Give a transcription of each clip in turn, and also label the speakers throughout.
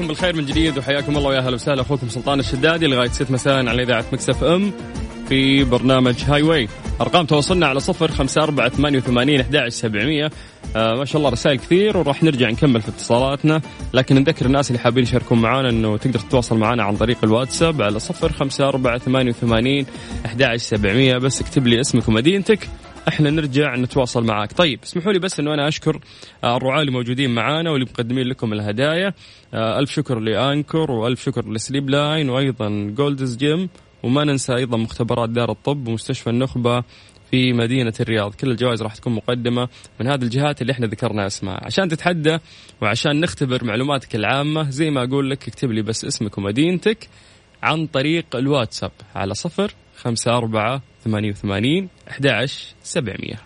Speaker 1: الخير من جديد وحياكم الله ويا اهلا وسهلا اخوكم سلطان الشدادي لغايه 6 مساء على اذاعه مكسف ام في برنامج هاي واي ارقام تواصلنا على 0 5 4 88 11 700 آه ما شاء الله رسائل كثير وراح نرجع نكمل في اتصالاتنا لكن نذكر الناس اللي حابين يشاركون معنا انه تقدر تتواصل معنا عن طريق الواتساب على 0 5 4 88 11 700 بس اكتب لي اسمك ومدينتك احنا نرجع نتواصل معاك طيب اسمحوا لي بس انه انا اشكر آه، الرعاة اللي موجودين معانا واللي مقدمين لكم الهدايا آه، الف شكر لانكر والف شكر لسليب لاين وايضا جولدز جيم وما ننسى ايضا مختبرات دار الطب ومستشفى النخبه في مدينة الرياض كل الجوائز راح تكون مقدمة من هذه الجهات اللي احنا ذكرنا اسمها عشان تتحدى وعشان نختبر معلوماتك العامة زي ما أقول لك اكتب لي بس اسمك ومدينتك عن طريق الواتساب على صفر خمسة أربعة ثمانية وثمانين أحد عشر سبعمية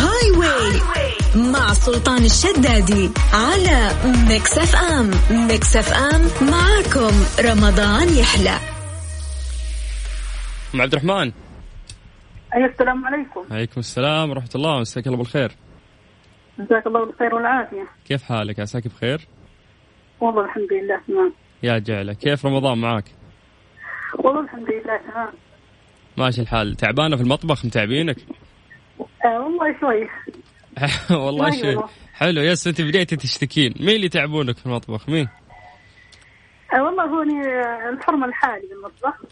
Speaker 2: هاي واي مع سلطان الشدادي على ميكس اف ام ميكس اف ام معاكم رمضان يحلى
Speaker 1: أم عبد الرحمن
Speaker 3: أيوة السلام عليكم
Speaker 1: عليكم السلام ورحمة الله مساك الله بالخير
Speaker 3: جزاك الله بالخير والعافية
Speaker 1: كيف حالك عساك بخير
Speaker 3: والله الحمد لله تمام
Speaker 1: يا جعلة كيف رمضان معك
Speaker 3: والله الحمد لله تمام
Speaker 1: ماشي الحال تعبانة في المطبخ متعبينك
Speaker 3: آه والله شوي
Speaker 1: والله
Speaker 3: شوي
Speaker 1: شوي
Speaker 3: والله.
Speaker 1: حلو يس انت بديتي تشتكين مين اللي تعبونك في المطبخ مين
Speaker 3: آه والله هوني آه، الحرمة الحالي بالمطبخ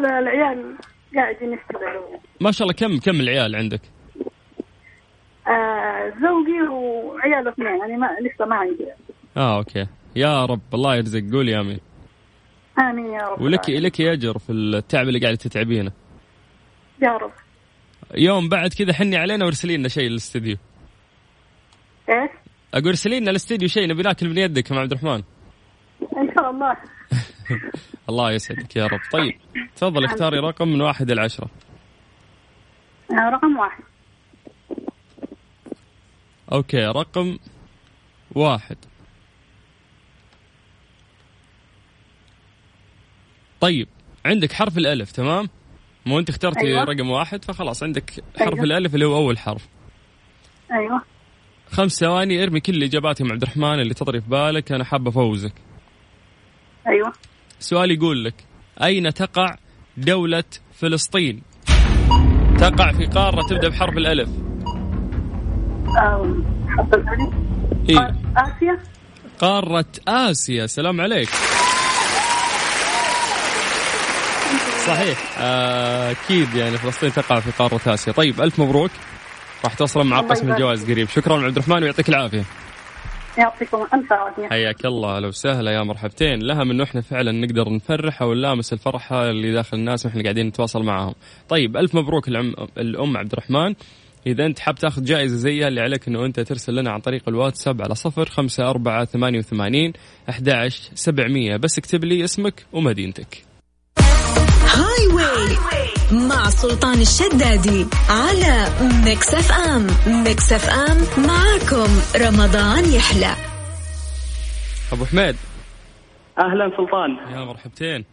Speaker 3: العيال قاعدين يشتغلوا
Speaker 1: ما شاء الله كم كم العيال عندك
Speaker 3: آه زوجي وعياله اثنين يعني ما لسه ما عندي
Speaker 1: اه اوكي يا رب الله يرزق قول يا امين
Speaker 3: آمين يا رب
Speaker 1: ولك لك يجر في التعب اللي قاعد تتعبينه
Speaker 3: يا رب
Speaker 1: يوم بعد كذا حني علينا وارسلي لنا شيء للاستديو
Speaker 3: إيش
Speaker 1: اقول ارسلي لنا الاستديو شيء نبي ناكل من يدك يا أم عبد الرحمن
Speaker 3: إن شاء الله
Speaker 1: الله يسعدك يا رب طيب تفضل اختاري رقم من واحد إلى عشرة
Speaker 3: آه رقم واحد
Speaker 1: اوكي رقم واحد طيب عندك حرف الالف تمام مو انت اخترتي أيوة.
Speaker 3: أيوة.
Speaker 1: رقم واحد فخلاص عندك حرف أيوة.
Speaker 3: أيوة.
Speaker 1: الالف اللي هو اول حرف
Speaker 3: أيوة
Speaker 1: خمس ثواني ارمي كل اجابات يا أم عبد الرحمن اللي تطري في بالك انا حابه افوزك
Speaker 3: أيوة
Speaker 1: سؤال يقول لك اين تقع دوله فلسطين تقع في قاره تبدا بحرف الالف
Speaker 3: آه حصل علي
Speaker 1: إيه؟
Speaker 3: آه، آسيا
Speaker 1: قارة آسيا سلام عليك صحيح آه، أكيد يعني فلسطين تقع في قارة آسيا طيب ألف مبروك راح توصل مع
Speaker 3: الله
Speaker 1: قسم
Speaker 3: يبارك.
Speaker 1: الجوائز قريب شكرا عبد الرحمن ويعطيك العافية
Speaker 3: يعطيكم ألف عافية
Speaker 1: حياك الله لو سهلة يا مرحبتين لها من إنه احنا فعلا نقدر نفرح او نلامس الفرحة اللي داخل الناس واحنا قاعدين نتواصل معاهم طيب ألف مبروك العم... الأم عبد الرحمن إذا أنت حاب تاخذ جائزة زيها اللي عليك أنه أنت ترسل لنا عن طريق الواتساب على صفر خمسة أربعة ثمانية وثمانين أحداش سبعمية بس اكتب لي اسمك ومدينتك
Speaker 2: هاي واي مع سلطان الشدادي على ميكس اف ام ميكس اف ام معاكم رمضان يحلى
Speaker 1: أبو حميد
Speaker 4: اهلا سلطان
Speaker 1: يا مرحبتين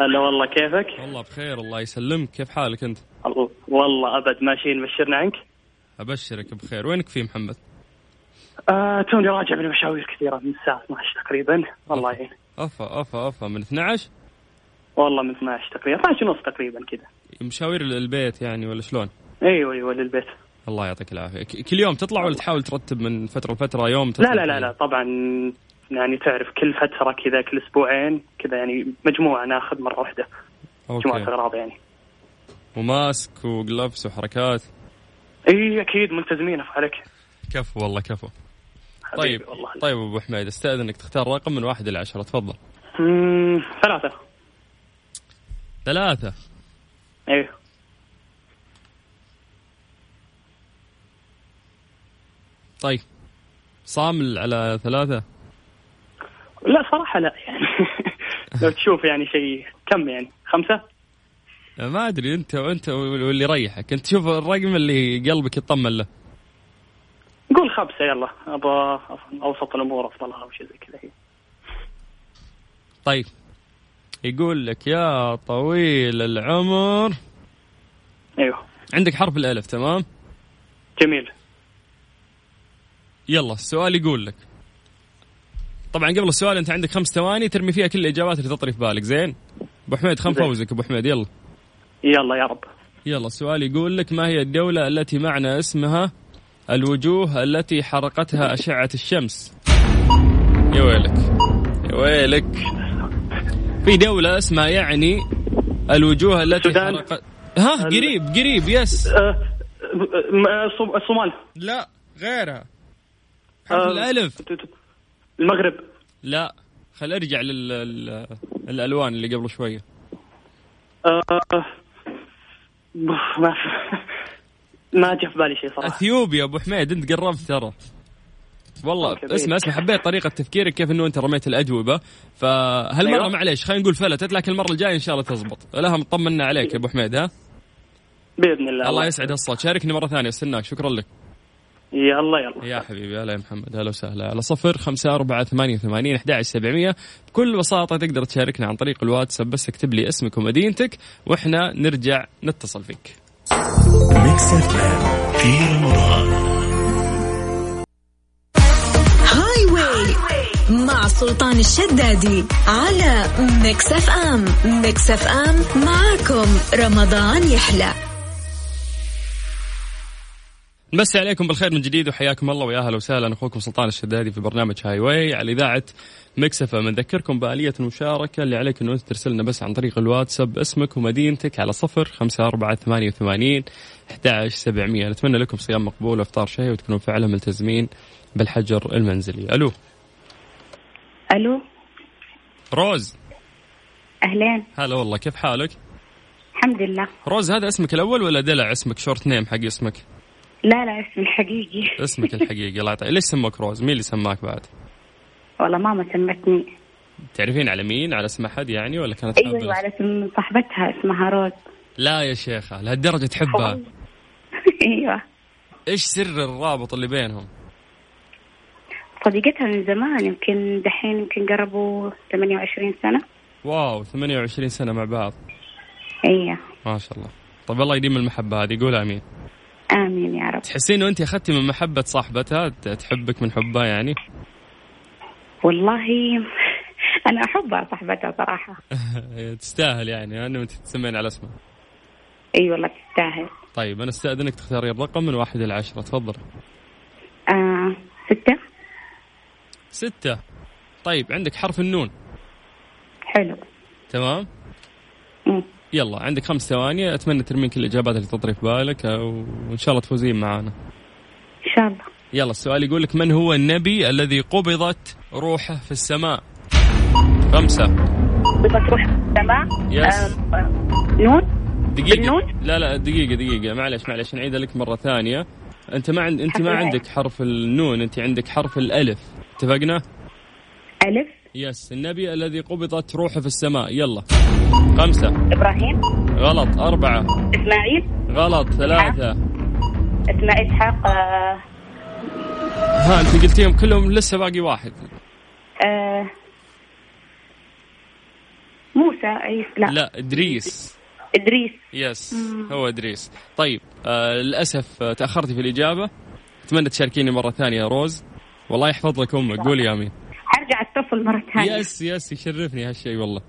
Speaker 4: هلا والله كيفك؟
Speaker 1: والله بخير الله يسلمك كيف حالك أنت
Speaker 4: الله- والله ابد ماشيين بشرنا عنك
Speaker 1: أبشرك بخير وينك في محمد
Speaker 4: آه توني راجع من مشاوير كثيره من الساعه 12 تقريبا الله يعين
Speaker 1: أفا أفا أفا من 12
Speaker 4: والله من 12 تقريبا 12 ونص تقريبا كذا
Speaker 1: مشاوير البيت يعني ولا شلون
Speaker 4: ايوه ايوه للبيت
Speaker 1: الله يعطيك العافيه ك- كل يوم تطلع ولا تحاول ترتب من فتره لفتره يوم
Speaker 4: لا لا لا لا طبعا يعني تعرف كل فتره كذا كل اسبوعين كذا يعني مجموعه ناخذ مره واحده مجموعه
Speaker 1: اوكي
Speaker 4: اغراض يعني
Speaker 1: وماسك وجلفز وحركات
Speaker 4: اي اكيد ملتزمين أف عليك
Speaker 1: كفو والله كفو
Speaker 4: حبيبي
Speaker 1: طيب
Speaker 4: والله
Speaker 1: طيب ابو حميد استاذنك تختار رقم من واحد الى عشره تفضل
Speaker 4: مم، ثلاثه
Speaker 1: ثلاثه
Speaker 4: ايوه
Speaker 1: طيب صامل على ثلاثه
Speaker 4: لا صراحه لا يعني لو تشوف يعني شيء كم يعني خمسه
Speaker 1: ما ادري انت وانت وال- واللي يريحك انت شوف الرقم اللي قلبك يطمن له
Speaker 4: قول خمسة يلا أبغى أوسط الأمور أفضلها أو شيء زي كذا هي.
Speaker 1: طيب يقول لك يا طويل العمر
Speaker 4: أيوه
Speaker 1: عندك حرف الالف تمام
Speaker 4: جميل
Speaker 1: يلا السؤال يقول لك طبعا قبل السؤال انت عندك خمس ثواني ترمي فيها كل الاجابات اللي تطري في بالك زين ابو حميد خم
Speaker 4: زين.
Speaker 1: فوزك ابو حميد يلا
Speaker 4: يلا يا رب
Speaker 1: يلا السؤال يقول لك ما هي الدولة التي معنى اسمها الوجوه التي حرقتها أشعة الشمس يا ويلك يا ويلك في دولة اسمها يعني الوجوه التي
Speaker 4: السودان.
Speaker 1: حرقت ها قريب قريب يس
Speaker 4: آه، م- آه، الصو- الصومال
Speaker 1: لا غيرها
Speaker 4: آه،
Speaker 1: حرف الألف
Speaker 4: ت- ت- المغرب
Speaker 1: لا خل ارجع لل ال- الالوان اللي قبل شويه
Speaker 4: آه، آه، ما ما جاء في بالي شيء
Speaker 1: أه.
Speaker 4: صراحه
Speaker 1: اثيوبيا ابو حميد انت قربت ترى والله
Speaker 4: أوكي،
Speaker 1: اسمع
Speaker 4: بعيد.
Speaker 1: اسمع حبيت طريقة تفكيرك كيف انه انت رميت الاجوبة فهالمرة
Speaker 4: أيوة.
Speaker 1: معليش خلينا نقول فلتت لكن المرة الجاية ان شاء الله تزبط لها مطمنا عليك يا ابو حميد ها
Speaker 4: باذن الله
Speaker 1: الله يسعد الصوت شاركني مرة ثانية استناك شكرا لك
Speaker 4: يلا يلا
Speaker 1: يا حبيبي هلا يا محمد هلا وسهلا على صفر خمسة أربعة ثمانية وثمانين أحد سبعمية بكل بساطة تقدر تشاركنا عن طريق الواتساب بس اكتب لي اسمك ومدينتك واحنا نرجع نتصل فيك
Speaker 5: ميكس اف ام في رمضان
Speaker 2: هاي واي مع سلطان الشدادي على ميكس اف ام ميكس اف ام معاكم رمضان يحلى
Speaker 1: مسي عليكم بالخير من جديد وحياكم الله ويا اهلا وسهلا اخوكم سلطان الشدادي في برنامج هاي واي على اذاعه مكسفه نذكركم باليه المشاركه اللي عليك انه انت ترسلنا بس عن طريق الواتساب اسمك ومدينتك على صفر خمسة أربعة ثمانية وثمانين أحداش سبعمية نتمنى لكم صيام مقبول وافطار شهي وتكونوا فعلا ملتزمين بالحجر المنزلي الو
Speaker 3: الو
Speaker 1: روز
Speaker 3: اهلين
Speaker 1: هلا والله كيف حالك
Speaker 3: الحمد لله
Speaker 1: روز هذا اسمك الاول ولا دلع اسمك شورت نيم حق اسمك
Speaker 3: لا لا اسمي الحقيقي
Speaker 1: اسمك الحقيقي الله يعطيك ليش سموك روز مين اللي سماك بعد
Speaker 3: والله ماما سمتني
Speaker 1: تعرفين على مين على اسم احد يعني ولا كانت
Speaker 3: ايوه
Speaker 1: حابة
Speaker 3: ايوه على اسم صاحبتها اسمها روز
Speaker 1: لا يا شيخة لهالدرجة تحبها
Speaker 3: ايوه
Speaker 1: ايش سر الرابط اللي بينهم
Speaker 3: صديقتها من زمان يمكن دحين يمكن قربوا 28 سنة
Speaker 1: واو 28 سنة مع بعض
Speaker 3: ايوه
Speaker 1: ما شاء الله طيب الله يديم المحبة هذه قول امين
Speaker 3: امين يا رب
Speaker 1: تحسين انه انت اخذتي من محبة صاحبتها ت- تحبك من حبها يعني
Speaker 3: والله انا احبها صاحبتها صراحة
Speaker 1: تستاهل يعني انه انت تسمين على اسمها
Speaker 3: اي والله تستاهل
Speaker 1: طيب انا استاذنك تختارين الرقم من واحد الى عشرة تفضل
Speaker 3: آه ستة
Speaker 1: ستة طيب عندك حرف النون
Speaker 3: حلو
Speaker 1: تمام
Speaker 3: مم.
Speaker 1: يلا عندك خمس ثواني اتمنى ترمين كل الاجابات اللي تطري في بالك آه، وان شاء الله تفوزين معانا
Speaker 3: ان شاء الله
Speaker 1: يلا السؤال يقول لك من هو النبي الذي قبضت روحه في السماء؟ خمسة
Speaker 3: بتروح السماء
Speaker 1: يس
Speaker 3: آه، آه، نون
Speaker 1: دقيقة
Speaker 3: بالنون؟
Speaker 1: لا لا دقيقة دقيقة معلش معلش نعيدها لك مرة ثانية أنت ما عند أنت ما
Speaker 3: حرف الألف.
Speaker 1: عندك حرف النون أنت عندك حرف الألف اتفقنا؟
Speaker 3: الف
Speaker 1: يس النبي الذي قبضت روحه في السماء يلا خمسة
Speaker 3: ابراهيم
Speaker 1: غلط أربعة
Speaker 3: اسماعيل
Speaker 1: غلط ثلاثة
Speaker 3: نعم. اسماء اسحاق آه،
Speaker 1: ها أنت قلتيهم كلهم لسه باقي واحد
Speaker 3: آه، موسى عيسى لا,
Speaker 1: لا إدريس
Speaker 3: ادريس
Speaker 1: يس هو ادريس طيب آه للاسف آه، تاخرتي في الاجابه اتمنى تشاركيني مره ثانيه يا روز والله يحفظ لك امك قولي يا امين
Speaker 3: ارجع اتصل مره ثانيه
Speaker 1: يس يس يشرفني هالشيء والله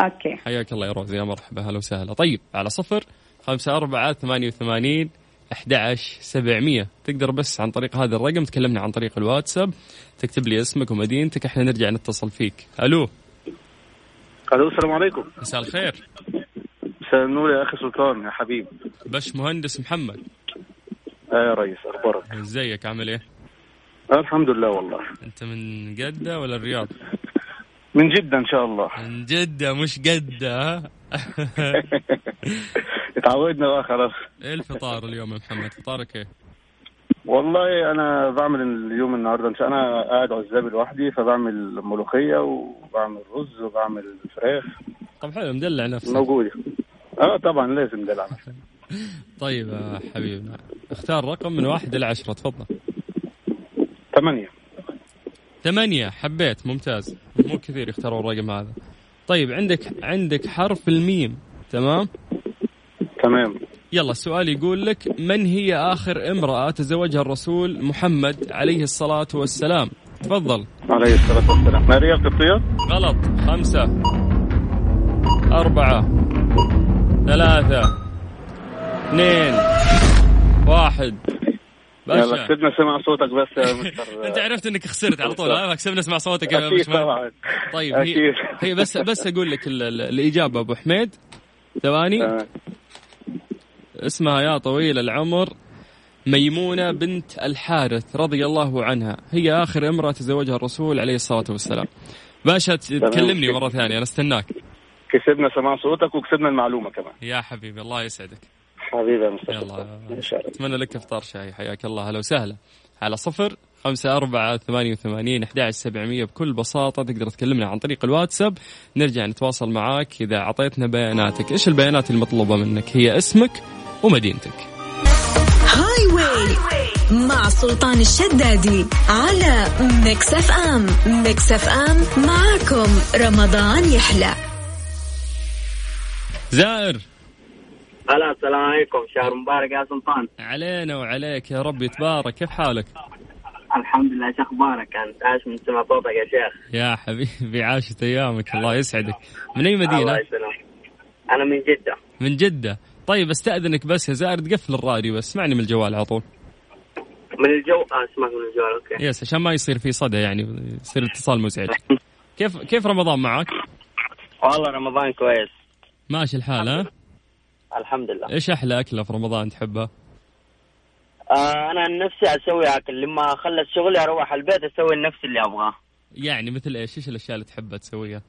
Speaker 3: اوكي
Speaker 1: حياك الله يا روز يا مرحبا هلا وسهلا طيب على صفر خمسة أربعة ثمانية وثمانين أحد سبعمية تقدر بس عن طريق هذا الرقم تكلمنا عن طريق الواتساب تكتب لي اسمك ومدينتك احنا نرجع نتصل فيك ألو
Speaker 6: الو السلام عليكم
Speaker 1: مساء الخير
Speaker 6: مساء النور يا اخي سلطان يا حبيب
Speaker 1: بش مهندس محمد
Speaker 6: آه يا ريس اخبارك
Speaker 1: ازيك عامل ايه
Speaker 6: آه الحمد لله والله
Speaker 1: انت من جدة ولا الرياض
Speaker 6: من جدة ان شاء الله
Speaker 1: من جدة مش جدة ها؟
Speaker 6: اتعودنا بقى خلاص
Speaker 1: ايه الفطار اليوم يا محمد فطارك ايه؟
Speaker 6: والله انا بعمل اليوم النهارده إن شاء انا قاعد عزابي لوحدي فبعمل ملوخيه وبعمل رز وبعمل فراخ
Speaker 1: طب حلو مدلع نفسك
Speaker 6: موجوده اه طبعا لازم دلع
Speaker 1: طيب يا حبيبنا اختار رقم من واحد إلى عشرة تفضل
Speaker 6: ثمانية
Speaker 1: ثمانية حبيت ممتاز مو كثير يختاروا الرقم هذا طيب عندك عندك حرف الميم تمام
Speaker 6: تمام
Speaker 1: يلا السؤال يقول لك من هي آخر امرأة تزوجها الرسول محمد عليه الصلاة والسلام تفضل
Speaker 6: عليه الصلاه والسلام ماريا القبطيه
Speaker 1: غلط خمسة أربعة ثلاثة اثنين واحد
Speaker 6: يلا
Speaker 1: باشا
Speaker 6: سيبنا سمع صوتك بس يا مستر
Speaker 1: انت عرفت انك خسرت على طول ها كسبنا اسمع صوتك يا
Speaker 6: اكيد
Speaker 1: باشمهندس.
Speaker 6: طبعا
Speaker 1: طيب هي
Speaker 6: اكيد
Speaker 1: هي بس بس اقول لك ال- ال- الاجابه ابو حميد ثواني
Speaker 6: تمام.
Speaker 1: اسمها يا طويل العمر ميمونه بنت الحارث رضي الله عنها هي اخر امراه تزوجها الرسول عليه الصلاه والسلام باشا ت- تكلمني مره ثانيه انا استناك
Speaker 6: كسبنا سماع صوتك وكسبنا المعلومه كمان
Speaker 1: يا حبيبي الله يسعدك
Speaker 6: حبيبي يا مستر
Speaker 1: يلا
Speaker 6: ان شاء الله
Speaker 1: اتمنى لك افطار شاي حياك الله هلا وسهلا على صفر خمسة أربعة ثمانية وثمانين أحد سبعمية بكل بساطة تقدر تكلمنا عن طريق الواتساب نرجع نتواصل معاك إذا أعطيتنا بياناتك إيش البيانات المطلوبة منك هي اسمك ومدينتك
Speaker 2: هاي واي مع سلطان الشدادي على ميكس اف ام ميكس اف ام معاكم رمضان يحلى
Speaker 1: زائر
Speaker 7: هلا السلام عليكم شهر مبارك يا سلطان
Speaker 1: علينا وعليك يا رب يتبارك كيف حالك
Speaker 7: الحمد لله شو اخبارك انت عاش من سمع صوتك يا شيخ
Speaker 1: يا حبيبي عاشت أيامك الله يسعدك من أي
Speaker 7: الله
Speaker 1: مدينة
Speaker 7: يسلمك انا من جده
Speaker 1: من جدة طيب استأذنك بس يا زائر تقفل الراديو بس اسمعني من الجوال على طول
Speaker 7: من الجو آه، اسمك من الجو اوكي
Speaker 1: يس عشان ما يصير في صدى يعني يصير اتصال مزعج كيف كيف رمضان معك؟
Speaker 7: والله رمضان كويس
Speaker 1: ماشي الحال ها؟
Speaker 7: الحمد لله
Speaker 1: ايش احلى اكله في رمضان تحبها؟
Speaker 7: آه انا عن نفسي اسوي اكل لما اخلص شغلي اروح البيت اسوي نفس اللي ابغاه
Speaker 1: يعني مثل ايش؟ ايش الاشياء اللي تحبها تسويها؟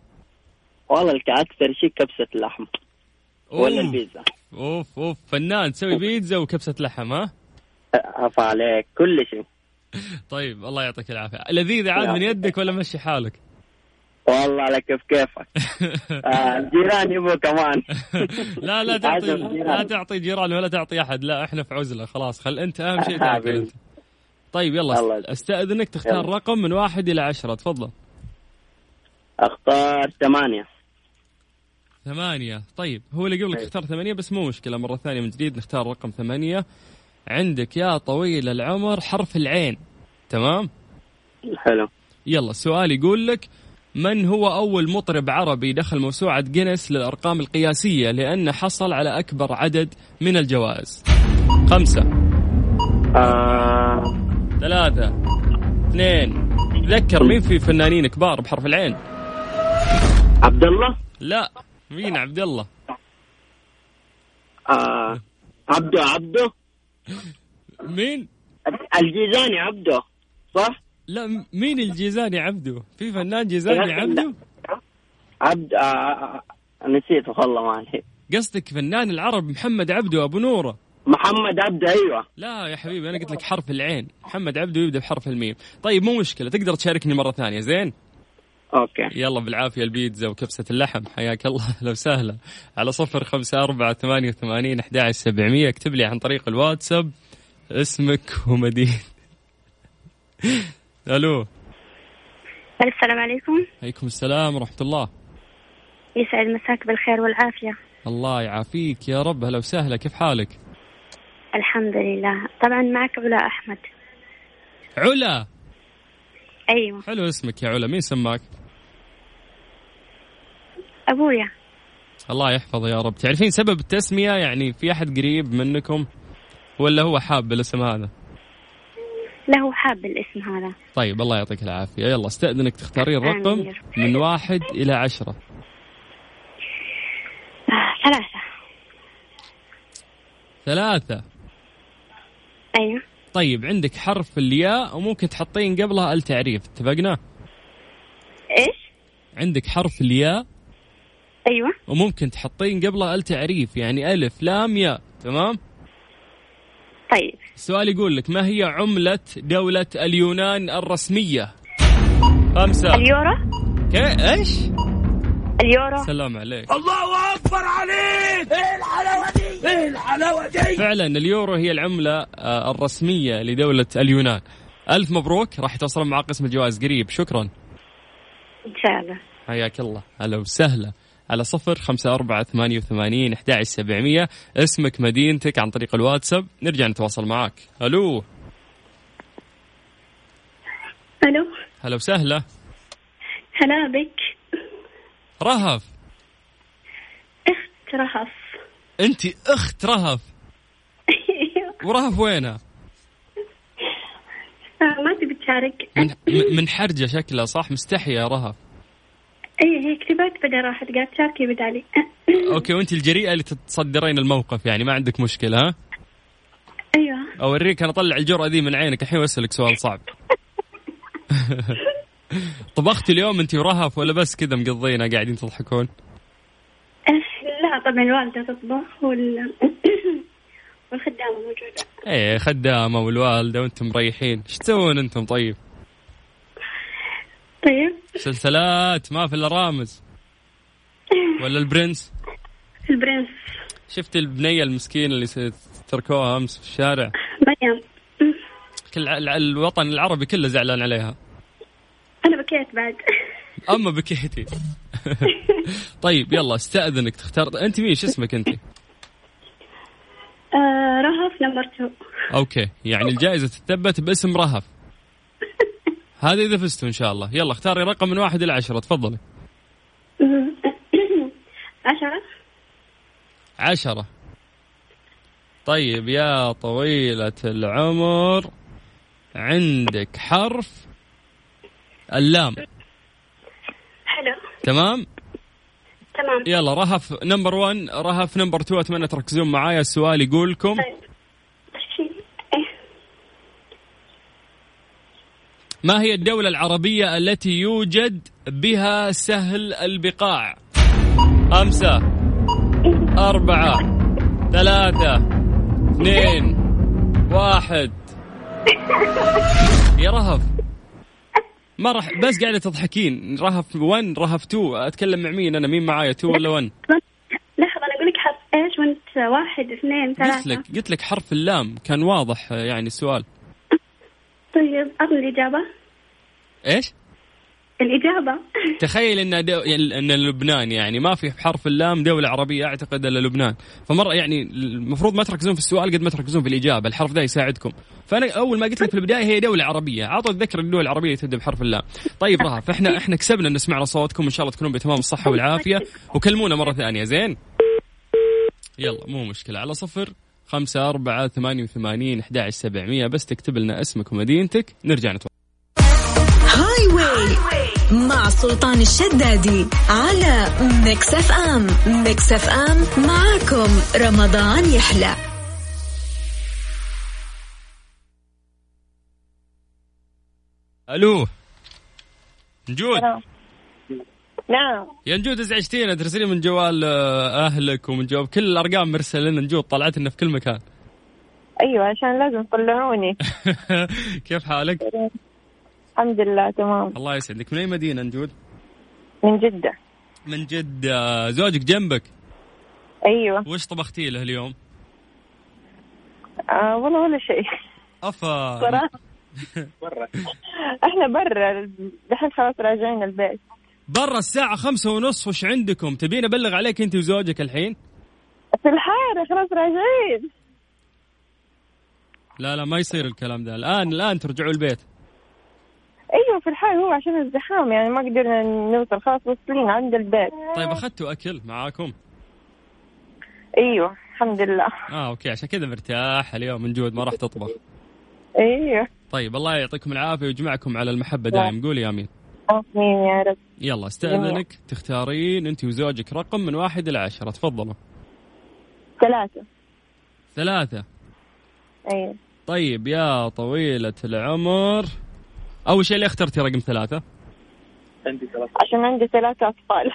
Speaker 7: والله الك- اكثر شيء كبسه اللحم ولا
Speaker 1: أوف،
Speaker 7: البيتزا
Speaker 1: اوف اوف فنان تسوي بيتزا وكبسه لحم ها؟
Speaker 7: عفا عليك كل شيء
Speaker 1: طيب الله يعطيك العافيه، لذيذه عاد من يدك ولا مشي حالك؟
Speaker 7: والله على كيف كيفك آه الجيران يبوا كمان
Speaker 1: لا لا تعطي
Speaker 7: عجب
Speaker 1: لا
Speaker 7: الجيران.
Speaker 1: تعطي جيران ولا تعطي احد، لا احنا في عزله خلاص خل انت اهم شيء تاكل
Speaker 7: حبيبي.
Speaker 1: انت. طيب يلا است-
Speaker 7: الله يسلمك.
Speaker 1: استاذنك تختار
Speaker 7: يلا.
Speaker 1: رقم من واحد الى عشره تفضل.
Speaker 7: اختار ثمانيه
Speaker 1: ثمانية طيب هو اللي قبلك اختار ثمانية بس مو مشكلة مرة ثانية من جديد نختار رقم ثمانية عندك يا طويل العمر حرف العين تمام
Speaker 7: حلو
Speaker 1: يلا السؤال يقول لك من هو أول مطرب عربي دخل موسوعة جينيس للأرقام القياسية لأنه حصل على أكبر عدد من الجوائز خمسة
Speaker 7: آه
Speaker 1: ثلاثة اثنين تذكر مين في فنانين كبار بحرف العين
Speaker 7: عبد الله
Speaker 1: لا مين عبد الله
Speaker 7: آه عبده عبده
Speaker 1: مين
Speaker 7: الجيزاني عبده صح؟
Speaker 1: لا م- مين الجيزاني عبده في فنان جيزاني عبده
Speaker 7: عبد آه، آه، آه، نسيت والله ما عليك
Speaker 1: قصدك فنان العرب محمد عبده ابو نوره
Speaker 7: محمد عبده ايوه
Speaker 1: لا يا حبيبي انا قلت لك حرف العين محمد عبده يبدا بحرف الميم طيب مو مشكله تقدر تشاركني مره ثانيه زين
Speaker 7: اوكي
Speaker 1: يلا بالعافيه البيتزا وكبسه اللحم حياك الله لو سهله على صفر خمسة أربعة ثمانية وثمانين أحد عشر سبعمية اكتب لي عن طريق الواتساب اسمك ومدينة ألو
Speaker 3: السلام عليكم
Speaker 1: عليكم السلام ورحمة الله
Speaker 3: يسعد مساك بالخير والعافية
Speaker 1: الله يعافيك يا رب هلا وسهلا كيف حالك
Speaker 3: الحمد لله طبعا معك علا أحمد
Speaker 1: علا
Speaker 3: أيوة
Speaker 1: حلو اسمك يا علا مين سماك
Speaker 3: أبويا
Speaker 1: الله يحفظه يا رب تعرفين سبب التسمية يعني في أحد قريب منكم ولا هو حاب الاسم هذا
Speaker 3: له حاب الاسم هذا
Speaker 1: طيب الله يعطيك العافية يلا استأذنك تختارين
Speaker 3: آمين
Speaker 1: رقم
Speaker 3: يا رب.
Speaker 1: من واحد إلى عشرة
Speaker 3: آه، ثلاثة
Speaker 1: ثلاثة
Speaker 3: أيوة
Speaker 1: طيب عندك حرف الياء وممكن تحطين قبلها التعريف اتفقنا
Speaker 3: إيش؟
Speaker 1: عندك حرف الياء
Speaker 3: أيوة
Speaker 1: وممكن تحطين قبلها التعريف يعني ألف لام ياء تمام
Speaker 3: طيب
Speaker 1: السؤال يقول لك ما هي عملة دولة اليونان الرسمية خمسة
Speaker 3: اليورو
Speaker 1: كي- ايش
Speaker 3: اليورو
Speaker 1: سلام عليك الله إيه اكبر عليك ايه الحلاوه دي ايه الحلاوه دي فعلا اليورو هي العمله آه، الرسميه لدوله اليونان الف مبروك راح يتواصلون مع قسم الجوائز قريب شكرا
Speaker 3: إن شاء الله
Speaker 1: حياك الله هلا وسهلا على صفر خمسة أربعة ثمانية وثمانين أحد سبعمية اسمك مدينتك عن طريق الواتساب نرجع نتواصل معك ألو
Speaker 3: ألو
Speaker 1: هلا وسهلا
Speaker 3: هلا بك
Speaker 1: رهف
Speaker 3: اخت رهف
Speaker 1: انت اخت رهف
Speaker 3: أيوة.
Speaker 1: ورهف وينها؟
Speaker 3: آه، ما تبي تشارك
Speaker 1: من م- منحرجه شكلها صح مستحيه يا رهف
Speaker 3: اي هي كتبت بدا راحت قالت شاركي بدالي
Speaker 1: اوكي وانت الجريئه اللي تتصدرين الموقف يعني ما عندك مشكله ها؟
Speaker 3: ايوه
Speaker 1: اوريك انا اطلع الجرأه ذي من عينك الحين واسالك سؤال صعب طبختي اليوم انت ورهف ولا بس كذا مقضينا قاعدين تضحكون؟
Speaker 3: إيه، لا طبعا الوالده تطبخ وال والخدامه موجوده
Speaker 1: ايه خدامه والوالده وانتم مريحين، ايش تسوون انتم طيب؟
Speaker 3: طيب
Speaker 1: مسلسلات ما في الا رامز ولا البرنس؟
Speaker 3: البرنس
Speaker 1: شفت البنيه المسكينه اللي س- تركوها امس في الشارع؟
Speaker 3: مريم أمم،
Speaker 1: كل ع- الع- الوطن العربي كله زعلان عليها،
Speaker 3: انا بكيت بعد
Speaker 1: اما بكيتي. طيب يلا استاذنك تختار انت مين شو اسمك انت؟
Speaker 3: آه رهف نمبر 2
Speaker 1: اوكي يعني الجائزه تتثبت باسم رهف هذا اذا فزتوا ان شاء الله يلا اختاري رقم من واحد الى عشره تفضلي
Speaker 3: أمم، عشرة
Speaker 1: عشرة طيب يا طويلة العمر عندك حرف اللام
Speaker 3: حلو
Speaker 1: تمام
Speaker 3: تمام
Speaker 1: يلا رهف نمبر 1 رهف نمبر 2 اتمنى تركزون معايا السؤال يقول لكم
Speaker 3: إيه،
Speaker 1: ما هي الدولة العربية التي يوجد بها سهل البقاع؟ خمسة أربعة ثلاثة اثنين واحد يا رهف ما راح بس قاعدة تضحكين رهف 1 رهف 2 أتكلم مع مين أنا مين معايا 2 ولا 1
Speaker 3: لحظة أنا أقول لك حرف إيش وأنت واحد اثنين
Speaker 1: قلت
Speaker 3: ثلاثة
Speaker 1: لك قلت لك حرف اللام كان واضح آه، يعني السؤال
Speaker 3: طيب أظن الإجابة
Speaker 1: إيش؟
Speaker 3: الإجابة
Speaker 1: تخيل ان دو... ان لبنان يعني ما في بحرف اللام دوله عربيه اعتقد الا لبنان، فمره يعني المفروض ما تركزون في السؤال قد ما تركزون في الاجابه، الحرف ذا يساعدكم. فانا اول ما قلت لك في البدايه هي دوله عربيه، عطوا ذكر الدول العربيه اللي تبدا بحرف اللام. طيب رهف احنا احنا كسبنا ان سمعنا صوتكم ان شاء الله تكونون بتمام الصحه والعافيه وكلمونا مره ثانيه زين؟ يلا مو مشكله على صفر خمسة أربعة ثمانية وثمانين أحد عشر سبعمية بس تكتب لنا اسمك ومدينتك نرجع نتواصل
Speaker 2: هاي واي مع سلطان الشدادي على ميكس اف ام ميكس اف ام معاكم رمضان يحلى
Speaker 1: ألو نجود
Speaker 8: نعم
Speaker 1: يا نجود ازعجتينا ترسلين من جوال آه، اهلك ومن جوال كل الارقام مرسله لنا نجود طلعت لنا في كل مكان
Speaker 8: ايوه عشان لازم طلعوني
Speaker 1: كيف حالك؟
Speaker 8: الحمد لله تمام
Speaker 1: الله يسعدك من اي مدينه نجود؟
Speaker 8: من جدة
Speaker 1: من جدة زوجك جنبك
Speaker 8: ايوه
Speaker 1: وش طبختي له اليوم؟
Speaker 8: آه والله ولا شيء
Speaker 1: افا
Speaker 8: صراحة احنا برا دحين خلاص راجعين البيت
Speaker 1: برا الساعة خمسة ونص وش عندكم؟ تبين ابلغ عليك انت وزوجك الحين؟
Speaker 8: في الحارة خلاص راجعين
Speaker 1: لا لا ما يصير الكلام ده الان الان ترجعوا البيت
Speaker 8: ايوه في الحارة هو عشان الزحام يعني ما قدرنا نوصل خلاص واصلين عند البيت
Speaker 1: طيب اخذتوا اكل معاكم؟
Speaker 8: ايوه الحمد لله
Speaker 1: اه اوكي عشان كذا مرتاح اليوم نجود ما راح تطبخ
Speaker 8: ايوه
Speaker 1: طيب الله يعطيكم العافية ويجمعكم على المحبة دائم قولي امين
Speaker 8: امين يا رب
Speaker 1: يلا استأذنك تختارين أنت وزوجك رقم من واحد إلى عشرة تفضلوا
Speaker 8: ثلاثة
Speaker 1: ثلاثة
Speaker 8: ايوه
Speaker 1: طيب يا طويلة العمر أول شيء ليه اخترتي رقم ثلاثة؟
Speaker 4: عندي ثلاث
Speaker 8: عشان عندي ثلاثة اطفال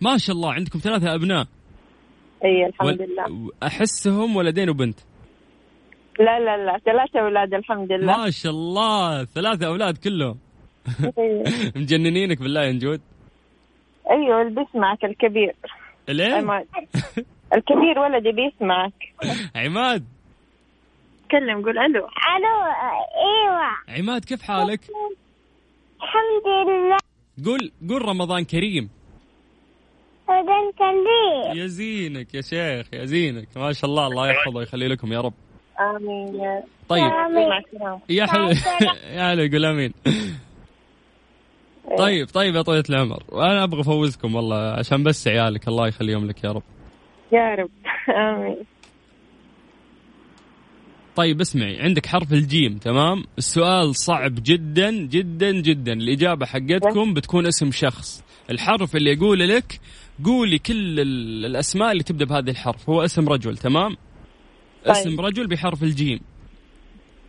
Speaker 1: ما شاء الله عندكم ثلاثة أبناء
Speaker 8: ايوه الحمد لله
Speaker 1: أحسهم ولدين وبنت
Speaker 8: لا لا لا ثلاثة اولاد الحمد لله
Speaker 1: ما شاء الله ثلاثة أولاد كلهم
Speaker 8: أيوة.
Speaker 1: مجننينك بالله يا نجود
Speaker 8: ايوه اللي بيسمعك الكبير
Speaker 1: ليه؟
Speaker 8: عماد الكبير ولدي بيسمعك
Speaker 1: عماد
Speaker 8: تكلم قول الو
Speaker 9: الو
Speaker 8: أيوه،
Speaker 9: ايوه
Speaker 1: عماد كيف حالك؟
Speaker 9: الحمد لله
Speaker 1: قول قول رمضان كريم
Speaker 9: رمضان كريم
Speaker 1: يا زينك يا شيخ يا زينك ما شاء الله الله يحفظه ويخلي لكم يا رب
Speaker 8: امين يا رب.
Speaker 1: طيب
Speaker 9: آمين.
Speaker 8: مع السلامه
Speaker 1: يا حلو يا حلو يقول امين
Speaker 8: إيه.
Speaker 1: طيب طيب يا طويلة العمر انا ابغى افوزكم والله عشان بس عيالك الله يخليهم لك يا رب
Speaker 10: يا رب امين
Speaker 1: طيب اسمعي عندك حرف الجيم تمام السؤال صعب جدا جدا جدا الإجابة حقتكم بتكون اسم شخص الحرف اللي أقوله لك قولي كل ال- الأسماء اللي تبدأ بهذا الحرف هو اسم رجل تمام اسم رجل بحرف الجيم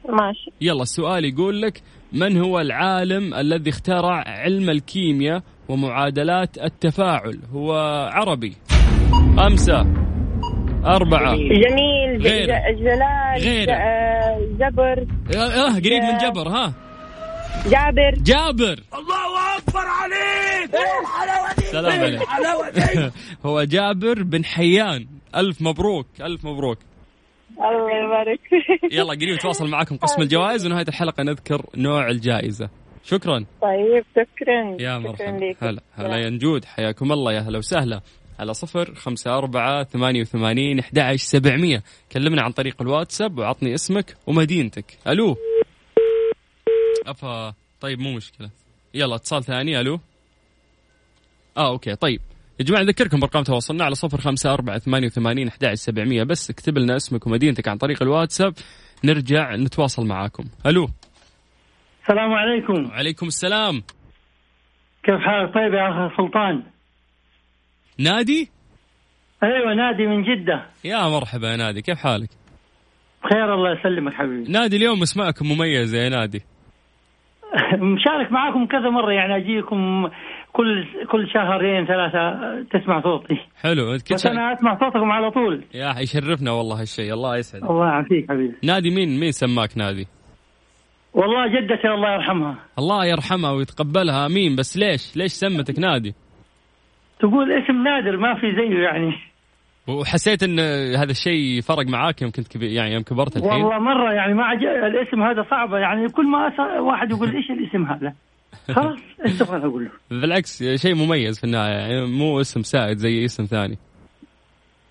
Speaker 10: طيب. ماشي
Speaker 1: يلا السؤال يقول لك من هو العالم الذي اخترع علم الكيمياء ومعادلات التفاعل هو عربي خمسة أربعة
Speaker 10: جميل ج-
Speaker 1: غيره.
Speaker 10: ج- جلال
Speaker 1: غيره.
Speaker 10: ج- آه، جبر
Speaker 1: اه آه، قريب من جبر ها
Speaker 10: جابر إيه.
Speaker 1: جابر الله اكبر عليك الحلاوه دي الحلاوه إيه. دي هو جابر بن حيان الف مبروك الف مبروك
Speaker 10: الله يبارك
Speaker 1: يلا قريب تواصل معاكم
Speaker 10: آه.
Speaker 1: قسم الجوائز ونهايه الحلقه نذكر نوع الجائزه شكرا
Speaker 10: طيب شكرا
Speaker 1: يا
Speaker 10: شكرا
Speaker 1: مرحبا
Speaker 10: لك
Speaker 1: هلا هلا يا نجود حياكم الله يا هلا وسهلا على صفر خمسة أربعة ثمانية وثمانين أحد عشر سبعمية كلمنا عن طريق الواتساب وعطني اسمك ومدينتك ألو أفا طيب مو مشكلة يلا اتصال ثاني ألو اه اوكي طيب يا جماعة نذكركم بأرقام تواصلنا على صفر خمسة أربعة ثمانية وثمانين أحد عشر سبعمية بس اكتب لنا اسمك ومدينتك عن طريق الواتساب نرجع نتواصل معاكم ألو
Speaker 4: السلام عليكم
Speaker 1: وعليكم السلام
Speaker 4: كيف حالك طيب يا اخ سلطان
Speaker 1: نادي
Speaker 4: ايوه نادي من جده
Speaker 1: يا مرحبا يا نادي كيف حالك
Speaker 4: خير الله يسلمك حبيبي
Speaker 1: نادي اليوم اسماءكم مميزة يا نادي
Speaker 4: مشارك معاكم كذا مره يعني اجيكم كل كل شهرين ثلاثه تسمع صوتي
Speaker 1: حلو كل
Speaker 4: بس
Speaker 1: شيء
Speaker 4: انا اسمع صوتكم على طول
Speaker 1: يا يشرفنا والله هالشيء الله يسعدك
Speaker 4: الله يعافيك حبيبي
Speaker 1: نادي مين مين سماك نادي
Speaker 4: والله جدتي الله يرحمها
Speaker 1: الله يرحمها ويتقبلها امين بس ليش ليش سمتك نادي
Speaker 4: تقول اسم نادر ما في زيه يعني
Speaker 1: وحسيت ان هذا الشيء فرق معاك يوم كنت كبير يعني يوم كبرت الحين
Speaker 4: والله مره يعني ما عجب الاسم هذا صعبه يعني كل ما أسأل واحد يقول ايش الاسم هذا خلاص ايش تبغى اقول له
Speaker 1: بالعكس شيء مميز في النهاية يعني مو اسم سائد زي اسم ثاني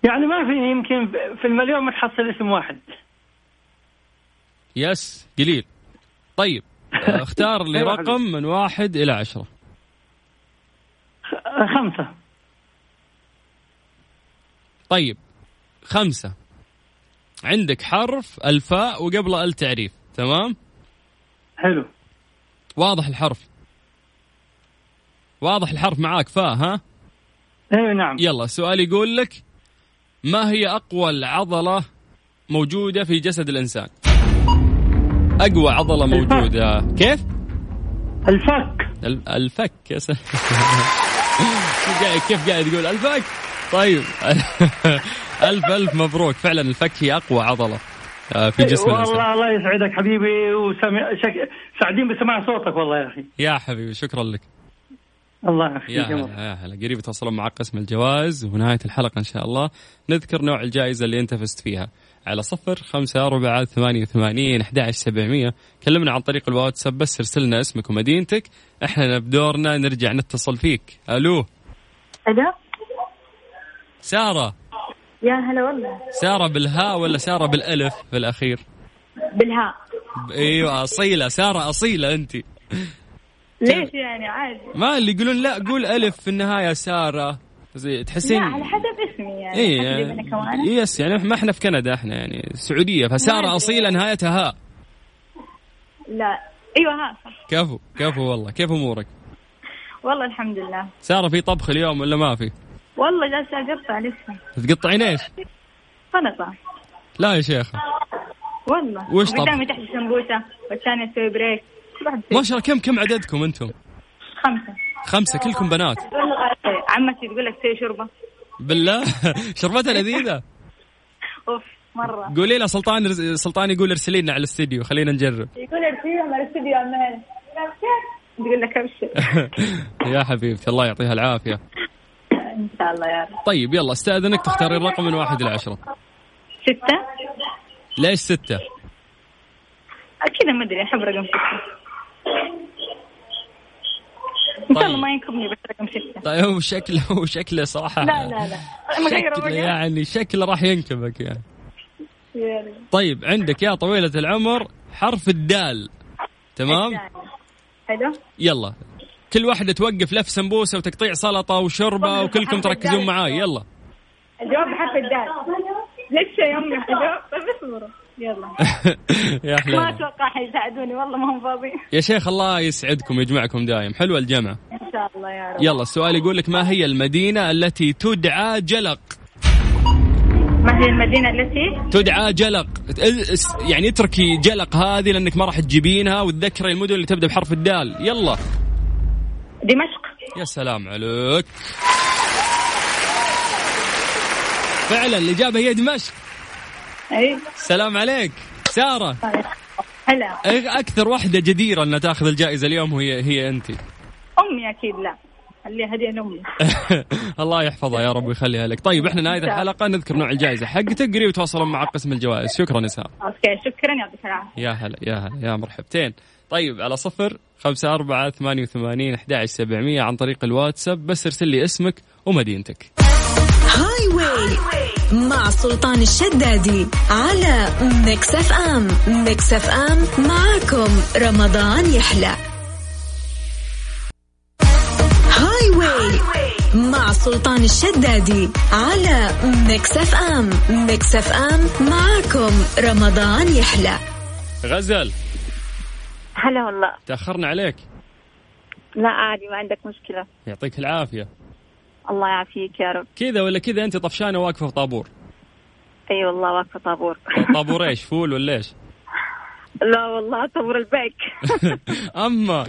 Speaker 4: يعني ما في يمكن في المليون ما تحصل اسم واحد
Speaker 1: يس قليل طيب آه، اختار لي
Speaker 4: أيوة،
Speaker 1: رقم من واحد الى عشرة
Speaker 4: خ- خمسه
Speaker 1: طيب خمسة عندك حرف الفاء وقبله التعريف تمام
Speaker 4: حلو
Speaker 1: واضح الحرف واضح الحرف معاك فاء ها
Speaker 4: ايوه نعم
Speaker 1: يلا سؤال يقول لك ما هي أقوى العضلة موجودة في جسد الإنسان أقوى عضلة موجودة كيف
Speaker 4: الفك
Speaker 1: ال- الفك يا سلام كيف قاعد- كيف قاعد تقول الفك طيب ألف ألف مبروك فعلا الفك هي أقوى عضلة آه، في جسم الإنسان
Speaker 4: والله الله يسعدك حبيبي وسامع شك... سعدين بسماع صوتك والله يا اخي
Speaker 1: يا حبيبي شكرا لك
Speaker 4: الله
Speaker 1: يا
Speaker 4: يعافيك يا مرحبا.
Speaker 1: هلا يا هلا قريب يتواصلون مع قسم الجوائز ونهاية الحلقة إن شاء الله نذكر نوع الجائزة اللي أنت فزت فيها على صفر خمسة أربعة ثمانية وثمانين أحد عشر سبعمية كلمنا عن طريق الواتساب بس ارسلنا اسمك ومدينتك احنا بدورنا نرجع نتصل فيك ألو
Speaker 8: الو
Speaker 1: سارة
Speaker 8: يا هلا والله
Speaker 1: سارة بالهاء ولا سارة بالألف في الأخير
Speaker 8: بالهاء
Speaker 1: ب- أيوة أصيلة سارة أصيلة أنت
Speaker 8: ليش يعني عادي
Speaker 1: ما اللي يقولون لا قول ألف في النهاية سارة زي
Speaker 8: لا
Speaker 1: تحسين
Speaker 8: على حسب اسمي يعني
Speaker 1: اي
Speaker 8: حسب انا كمان
Speaker 1: يس إيه، يعني ما احنا في كندا احنا يعني السعوديه فساره
Speaker 8: أدري.
Speaker 1: اصيله نهايتها هاء
Speaker 8: لا ايوه ها صح
Speaker 1: كفو كفو والله كيف امورك؟
Speaker 8: والله الحمد لله
Speaker 1: ساره في طبخ اليوم ولا ما في؟
Speaker 8: والله جالسه اقطع لسه
Speaker 1: تقطعين ايش؟
Speaker 8: سلطه
Speaker 1: لا يا شيخ
Speaker 8: والله
Speaker 1: وش طب؟
Speaker 8: قدامي تحت سمبوسه والثانيه تسوي بريك كل واحد
Speaker 1: ما
Speaker 8: يسوي
Speaker 1: شاء الله كم كم عددكم انتم؟
Speaker 8: خمسه
Speaker 1: خمسه كلكم بنات
Speaker 8: والله إيه، عمتي تقول لك سوي شوربه
Speaker 1: بالله شربتها لذيذه
Speaker 8: اوف مره
Speaker 1: قولي لها سلطان رز- سلطان يقول ارسلي لنا على الاستديو خلينا نجرب
Speaker 8: يقول ارسلهم على الاستديو يا مهلا تقول لك ابشر
Speaker 1: يا حبيبتي الله يعطيها العافيه
Speaker 8: ان شاء الله يا رب
Speaker 1: طيب يلا استاذنك تختارين رقم من واحد الى عشره
Speaker 8: سته
Speaker 1: ليش سته؟
Speaker 8: كذا ما ادري احب رقم سته ان شاء
Speaker 1: طيب.
Speaker 8: الله ما ينكبني بس رقم سته
Speaker 1: طيب هو شكله هو شكله صراحه
Speaker 8: لا لا لا مغير
Speaker 1: شكله
Speaker 8: الرقم
Speaker 1: يعني شكله راح ينكبك يعني
Speaker 8: يا رب.
Speaker 1: طيب عندك يا طويلة العمر حرف الدال تمام
Speaker 8: حلو
Speaker 1: يلا كل واحدة توقف لف سمبوسة وتقطيع سلطة وشربة وكلكم تركزون معاي يلا
Speaker 3: طيب، الجواب بحرف الدال لسه يا امي الجواب طب اصبروا يلا
Speaker 1: يا
Speaker 3: ما
Speaker 1: أحلى
Speaker 3: اتوقع حيساعدوني والله ما هم فاضيين
Speaker 1: يا شيخ الله يسعدكم ويجمعكم دايم حلوة الجمعة
Speaker 3: ان شاء الله يا رب
Speaker 1: يلا السؤال يقول لك ما هي المدينة التي تدعى جلق
Speaker 3: ما هي المدينه التي
Speaker 1: تدعى جلق اس- اس- يعني اتركي جلق هذه لأنك ما راح تجيبينها وتذكري المدن اللي تبدأ بحرف الدال يلا
Speaker 3: دمشق
Speaker 1: يا سلام عليك فعلا الإجابة هي دمشق
Speaker 8: إيه.
Speaker 3: اي
Speaker 1: سلام عليك سارة إيه
Speaker 3: هلا
Speaker 1: أكثر واحدة جديرة أنها تاخذ الجائزة اليوم هي هي أنت
Speaker 3: امي اكيد لا خليها هديه لامي
Speaker 1: الله يحفظها يا رب ويخليها لك طيب احنا نهاية الحلقة نذكر نوع الجائزة حقتك قريب تواصلون مع قسم الجوائز شكرا يا سارة
Speaker 3: اوكي شكرا يعطيك العافيه
Speaker 1: يا هلا يا هلا يا مرحبتين طيب على صفر خمسة أربعة ثمانية وثمانين أحد عشر سبعمية عن طريق الواتساب بس ارسل لي اسمك ومدينتك
Speaker 2: هاي واي مع سلطان الشدادي على ميكس اف ام ميكس اف ام معاكم رمضان يحلى هاي واي مع سلطان الشدادي على ميكس اف ام ميكس اف ام معاكم رمضان يحلى
Speaker 1: غزل
Speaker 8: هلا والله
Speaker 1: تأخرنا عليك
Speaker 8: لا عادي ما عندك مشكلة
Speaker 1: يعطيك العافية
Speaker 8: الله يعافيك يا رب
Speaker 1: كذا ولا كذا أنت طفشانة واقفة في طابور
Speaker 8: اي أيوة والله واقفة طابور
Speaker 1: طابور إيش فول ولا إيش
Speaker 8: لا والله طابور البيك
Speaker 1: أما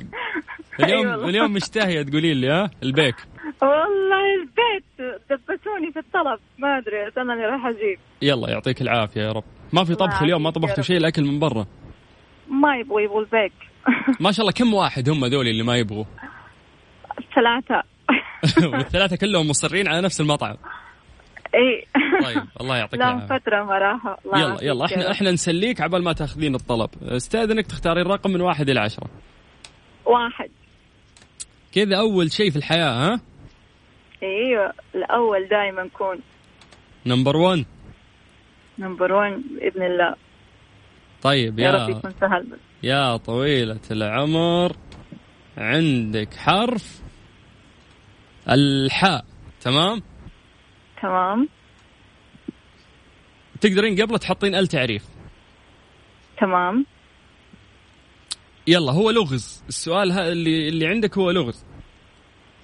Speaker 1: اليوم
Speaker 8: أي والله.
Speaker 1: اليوم مشتهية تقولي لي ها البيك
Speaker 8: والله البيت دبسوني في الطلب ما ادري انا اللي راح اجيب
Speaker 1: يلا يعطيك العافية يا رب ما في طبخ اليوم ما
Speaker 8: يعافيك يا
Speaker 1: طبختوا
Speaker 8: رب.
Speaker 1: شيء الأكل من برا
Speaker 8: ما يبغوا يبغوا البيك
Speaker 1: ما شاء الله كم واحد هم ذول اللي ما يبغوا
Speaker 8: ثلاثة
Speaker 1: والثلاثة كلهم مصرين على نفس المطعم
Speaker 8: اي
Speaker 1: طيب الله يعطيك
Speaker 8: إيه. لهم
Speaker 1: العافية
Speaker 8: فترة ما راحوا الله
Speaker 1: يلا
Speaker 8: يعافيك
Speaker 1: يلا
Speaker 8: يا
Speaker 1: احنا
Speaker 8: رب.
Speaker 1: احنا نسليك عبال ما تاخذين الطلب استاذنك تختارين رقم من واحد الى عشرة
Speaker 8: واحد
Speaker 1: كذا اول شيء في الحياة ها
Speaker 8: ايوه الاول دائما نكون
Speaker 1: نمبر 1
Speaker 8: نمبر 1 باذن الله
Speaker 1: طيب
Speaker 8: يا رب
Speaker 1: يا
Speaker 8: يكون سهل بس
Speaker 1: يا طويلة العمر عندك حرف الحاء تمام
Speaker 8: تمام
Speaker 1: تقدرين قبله تحطين ال تعريف
Speaker 8: تمام
Speaker 1: يلا هو لغز السؤال ها- اللي اللي عندك هو لغز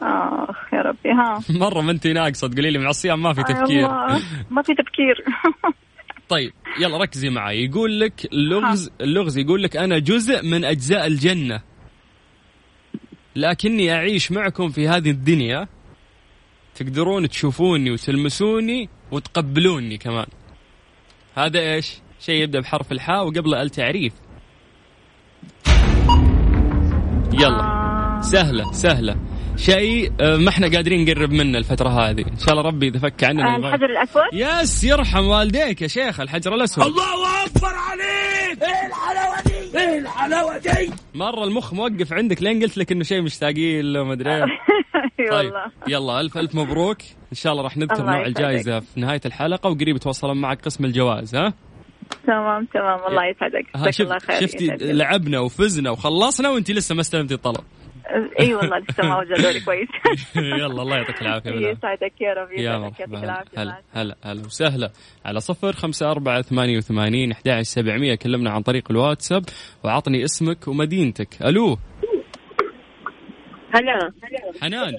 Speaker 8: اخ يا ربي ها
Speaker 1: مره ما انت ناقصه تقولي لي من الصيام ما في تفكير
Speaker 8: الله، ما في تفكير
Speaker 1: طيب يلا ركزي معي يقول لك اللغز اللغز يقول لك انا جزء من اجزاء الجنه لكني اعيش معكم في هذه الدنيا تقدرون تشوفوني وتلمسوني وتقبلوني كمان هذا ايش شيء يبدا بحرف الحاء وقبله التعريف يلا سهله سهله شيء آه، ما احنا قادرين نقرب منه الفتره هذه ان شاء الله ربي اذا فك عننا الغاية.
Speaker 8: آه، الحجر الاسود
Speaker 1: يس يرحم والديك يا شيخ الحجر الاسود الله اكبر عليك ايه الحلاوه دي ايه الحلاوه دي مره المخ موقف عندك لين قلت لك انه شيء مشتاقين له ما ادري إيه.
Speaker 8: اي
Speaker 1: طيب
Speaker 8: والله
Speaker 1: يلا الف الف مبروك ان شاء الله راح نذكر
Speaker 8: الله
Speaker 1: نوع
Speaker 8: يسعدك.
Speaker 1: الجائزه في نهايه الحلقه وقريب يتواصلون معك قسم الجوائز ها
Speaker 8: تمام تمام الله يسعدك
Speaker 1: ها،
Speaker 8: جزاك الله خير
Speaker 1: شفتي
Speaker 8: يسعدك.
Speaker 1: لعبنا وفزنا وخلصنا وانت لسه ما استلمتي الطلب
Speaker 8: اي والله لسه ما وجدوني كويس
Speaker 1: يلا الله يعطيك العافيه بالله.
Speaker 8: يسعدك يا رب
Speaker 1: يا
Speaker 8: يسعدك
Speaker 1: مرحبا هلا
Speaker 8: إيه، يعطيك العافيه مع
Speaker 1: هلا هلا هلا وسهلا على صفر خمسة أربعة ثمانية وثمانين أحد عشر سبعمية كلمنا عن طريق الواتساب وعطني اسمك ومدينتك ألو
Speaker 8: هلا
Speaker 1: حنان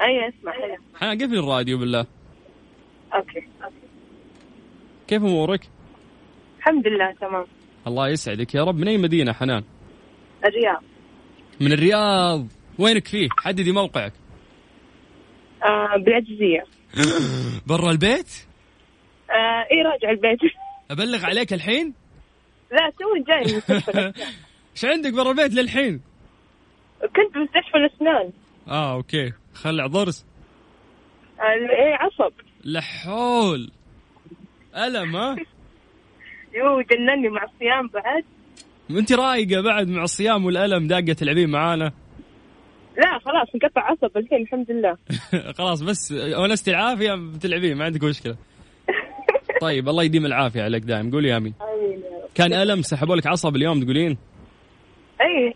Speaker 8: اي اسمع هلا
Speaker 1: حنان قفل الراديو بالله
Speaker 8: اوكي
Speaker 1: كيف أمورك
Speaker 8: الحمد لله تمام
Speaker 1: الله يسعدك يا رب من أي مدينة حنان
Speaker 8: الرياض
Speaker 1: من الرياض وينك فيه حددي موقعك
Speaker 8: آه بالعجزيه
Speaker 1: برا البيت
Speaker 8: آه اي راجع البيت
Speaker 1: أبلغ عليك الحين
Speaker 8: لا تو جاي من المستشفى
Speaker 1: إيش عندك برا البيت للحين
Speaker 8: كنت بمستشفى الاسنان
Speaker 1: آه أوكي خلع ضرس
Speaker 8: آه، اي عصب
Speaker 1: لحول ألم ها
Speaker 8: يو جنني مع الصيام بعد
Speaker 1: انت رايقه بعد مع الصيام والالم داقه تلعبين معانا
Speaker 8: لا خلاص انقطع عصب الحين الحمد لله
Speaker 1: خلاص بس ونستي العافيه بتلعبين ما عندك مشكله طيب الله يديم العافيه عليك دائم قولي امين
Speaker 8: امين يا رب إيه.
Speaker 1: كان الم سحبوا لك عصب اليوم تقولين
Speaker 8: اي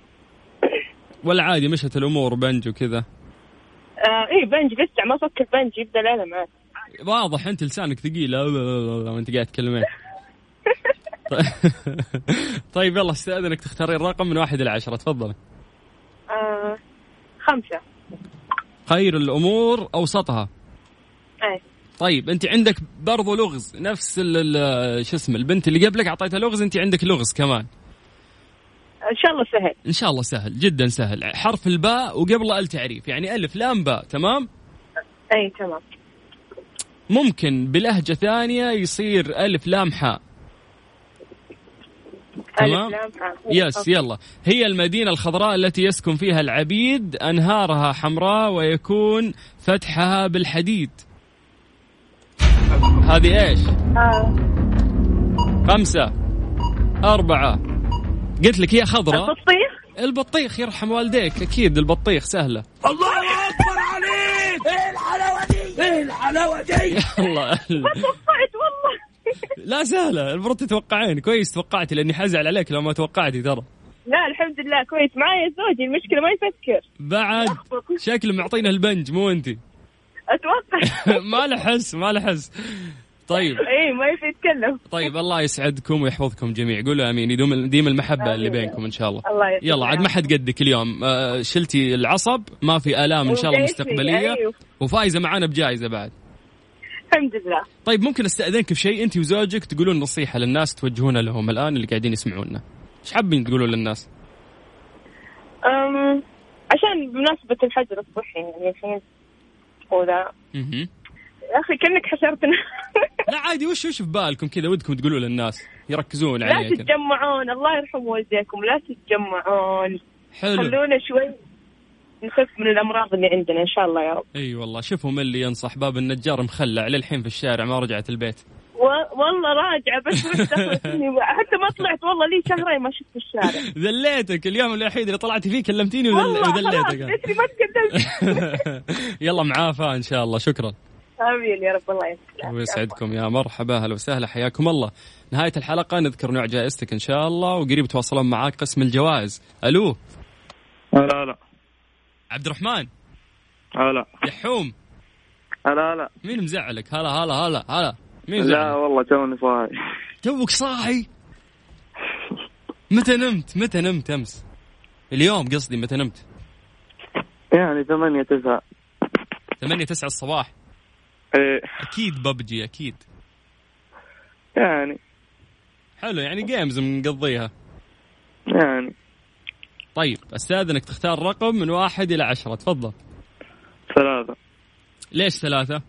Speaker 1: ولا عادي مشت الامور بنج وكذا
Speaker 8: آه ايه بنج لسه ما فك البنج يبدا لا معك
Speaker 1: واضح انت لسانك ثقيل وانت قاعد تكلمين طيب يلا استاذنك تختارين رقم من واحد الى عشره تفضل
Speaker 8: آه خمسة
Speaker 1: خير الامور اوسطها
Speaker 8: ايه
Speaker 1: طيب انت عندك برضو لغز نفس ال- ال- شو اسمه البنت اللي قبلك اعطيتها لغز انت عندك لغز كمان
Speaker 8: ان شاء الله سهل
Speaker 1: ان شاء الله سهل جدا سهل حرف الباء وقبله التعريف يعني الف لام باء تمام
Speaker 8: اي تمام
Speaker 1: ممكن بلهجه ثانيه يصير الف لام حاء تمام.
Speaker 8: ألف لام، آه.
Speaker 1: يس
Speaker 8: أوكي.
Speaker 1: يلا هي المدينة الخضراء التي يسكن فيها العبيد أنهارها حمراء ويكون فتحها بالحديد هذه إيش
Speaker 8: آه.
Speaker 1: خمسة أربعة قلت لك هي خضراء
Speaker 8: البطيخ
Speaker 1: البطيخ يرحم والديك أكيد البطيخ سهلة الله أكبر عليك إيه الحلاوة دي إيه الحلاوة دي
Speaker 8: توقعت والله
Speaker 1: يعني. لا سهلة المفروض تتوقعين كويس توقعتي لأني حزعل عليك لو ما توقعتي ترى
Speaker 8: لا الحمد لله كويس معايا زوجي المشكلة ما يفكر
Speaker 1: بعد شكله معطينا البنج مو أنتي
Speaker 8: اتوقع
Speaker 1: ما له حس ما له حس طيب
Speaker 8: اي إيه، ما يبي يتكلم
Speaker 1: طيب الله يسعدكم ويحفظكم جميع قولوا امين يدوم ديم المحبه اللي بينكم ان شاء الله
Speaker 8: الله يسعدك.
Speaker 1: يلا عاد ما حد قدك اليوم آه، شلتي العصب ما في الام ان شاء الله
Speaker 8: وجايزتي،
Speaker 1: مستقبليه
Speaker 8: أيوه.
Speaker 1: وفايزه معانا بجائزه بعد
Speaker 8: الحمد لله
Speaker 1: طيب ممكن استاذنك في شيء انت وزوجك تقولون نصيحه للناس توجهونها لهم الان اللي قاعدين يسمعونا ايش حابين تقولون للناس
Speaker 8: أم عشان بمناسبة الحجر الصحي يعني الحين وذا
Speaker 1: مهم.
Speaker 8: يا اخي كانك حشرتنا
Speaker 1: لا عادي وش وش في بالكم كذا ودكم تقولوا للناس يركزون
Speaker 8: لا
Speaker 1: عليه كذا
Speaker 8: تتجمعون الله يرحم والديكم لا تتجمعون
Speaker 1: حلو
Speaker 8: خلونا شوي نخف من الامراض اللي عندنا ان شاء الله يا رب
Speaker 1: اي أيوة والله شوفوا من اللي ينصح باب النجار مخلع للحين في الشارع ما رجعت البيت
Speaker 8: و... والله راجعه بس رحت دخلت مني حتى ما طلعت والله لي شهرين ما شفت الشارع
Speaker 1: ذليتك اليوم الوحيد اللي طلعت فيه كلمتيني وذل-
Speaker 8: والله خلاص
Speaker 1: وذليتك
Speaker 8: جسمي ما تقدمت
Speaker 1: يلا معافى ان شاء الله شكرا
Speaker 8: امين يا رب الله يسلمك
Speaker 1: ويسعدكم يا مرحبا اهلا وسهلا حياكم الله نهايه الحلقه نذكر نوع جائزتك ان شاء الله وقريب يتواصلون معاك قسم الجوائز الو
Speaker 4: هلا هلا
Speaker 1: عبد الرحمن
Speaker 4: هلا
Speaker 1: دحوم
Speaker 4: هلا هلا
Speaker 1: مين مزعلك هلا هلا هلا هلا مين
Speaker 4: لا
Speaker 1: مزعلك
Speaker 4: والله توني صاحي
Speaker 1: توك صاحي متى نمت متى نمت امس اليوم قصدي متى نمت
Speaker 4: يعني ثمانية تسعة
Speaker 1: 8 9 الصباح
Speaker 4: ايه
Speaker 1: اكيد ببجي اكيد
Speaker 4: يعني
Speaker 1: حلو يعني جيمز مقضيها
Speaker 4: يعني
Speaker 1: طيب استاذنك تختار رقم من واحد الى عشرة تفضل
Speaker 4: ثلاثة
Speaker 1: ليش ثلاثة؟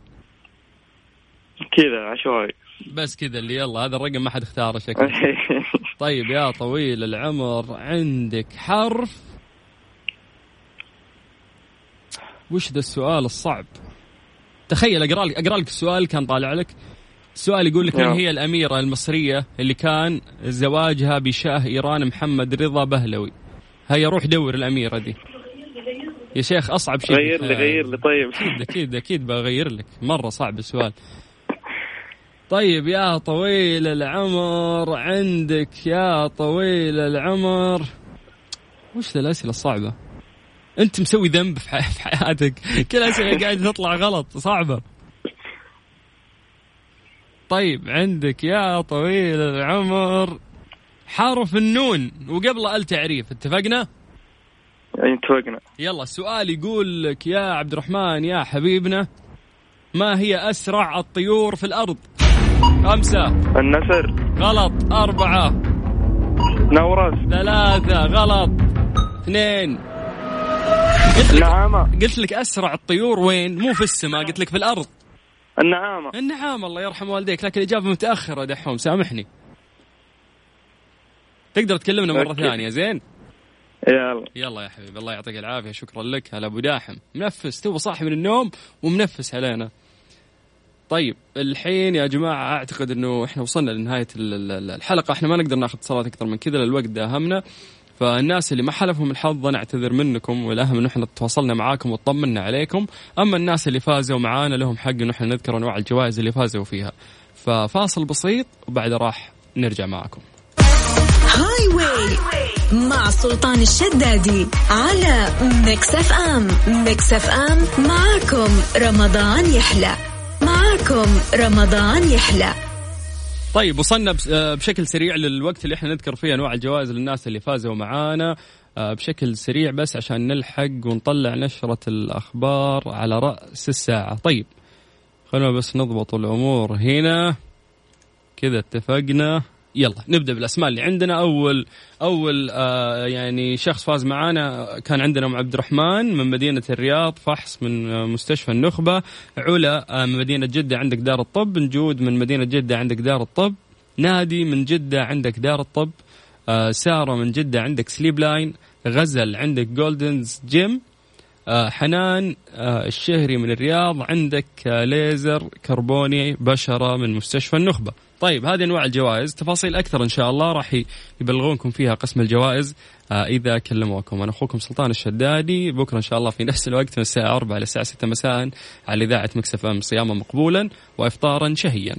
Speaker 4: كذا عشوائي
Speaker 1: بس كذا اللي يلا هذا الرقم ما حد اختاره شكله طيب يا طويل العمر عندك حرف وش ذا السؤال الصعب؟ تخيل اقرا لك اقرا لك السؤال كان طالع لك السؤال يقول لك من
Speaker 4: نعم.
Speaker 1: هي الاميره المصريه اللي كان زواجها بشاه ايران محمد رضا بهلوي؟ هيا روح دور الاميره دي يا شيخ اصعب شيء في
Speaker 4: غير لي
Speaker 1: الحياة.
Speaker 4: غير لي طيب
Speaker 1: اكيد اكيد اكيد بغير لك مره صعب السؤال طيب يا طويل العمر عندك يا طويل العمر وش ذا الاسئله الصعبه انت مسوي ذنب في ح- في حياتك كل الاسئله قاعده تطلع غلط صعبه طيب عندك يا طويل العمر حرف النون وقبله التعريف اتفقنا؟
Speaker 4: يعني اتفقنا
Speaker 1: يلا السؤال يقول لك يا عبد الرحمن يا حبيبنا ما هي أسرع الطيور في الأرض؟ خمسة
Speaker 4: النسر
Speaker 1: غلط أربعة
Speaker 4: نورس
Speaker 1: ثلاثة غلط اثنين قلت لك,
Speaker 4: النعامة
Speaker 1: قلت لك أسرع الطيور وين؟ مو في السماء قلت لك في الأرض
Speaker 4: النعامة
Speaker 1: النعام الله يرحم والديك لكن الإجابة متأخرة دحوم سامحني تقدر تكلمنا مرة
Speaker 4: أوكي.
Speaker 1: ثانية زين؟
Speaker 4: يلا
Speaker 1: يلا يا حبيبي الله يعطيك العافيه شكرا لك هلا ابو داحم منفس تو صاحي من النوم ومنفس علينا طيب الحين يا جماعه اعتقد انه احنا وصلنا لنهايه ال- ال- ال- الحلقه احنا ما نقدر ناخذ اتصالات اكثر من كذا الوقت داهمنا فالناس اللي ما حلفهم الحظ انا اعتذر منكم والاهم انه احنا تواصلنا معاكم وطمنا عليكم اما الناس اللي فازوا معانا لهم حق انه احنا نذكر انواع الجوائز اللي فازوا فيها ففاصل بسيط وبعد راح نرجع معاكم
Speaker 2: هاي واي مع سلطان الشدادي على ميكس اف ام ميكس اف ام معاكم رمضان يحلى معاكم رمضان يحلى
Speaker 1: طيب وصلنا بس- آه، بشكل سريع للوقت اللي احنا نذكر فيه انواع الجوائز للناس اللي فازوا معانا آه، بشكل سريع بس عشان نلحق ونطلع نشرة الأخبار على رأس الساعة طيب خلونا بس نضبط الأمور هنا كذا اتفقنا يلا نبدا بالاسماء اللي عندنا اول اول آه يعني شخص فاز معانا كان عندنا ام عبد الرحمن من مدينه الرياض فحص من آه، مستشفى النخبه علا آه من مدينه جده عندك دار الطب نجود من مدينه جده عندك دار الطب نادي من جده عندك دار الطب آه ساره من جده عندك سليب لاين غزل عندك جولدنز جيم آه، حنان آه، الشهري من الرياض عندك آه، ليزر كربوني بشرة من مستشفى النخبة طيب هذه أنواع الجوائز تفاصيل أكثر إن شاء الله راح ي- يبلغونكم فيها قسم الجوائز آه، إذا كلموكم أنا أخوكم سلطان الشدادي بكرة إن شاء الله في نفس الوقت من الساعة 4 إلى الساعة 6 مساء على إذاعة مكسف أم صياما مقبولا وإفطارا شهيا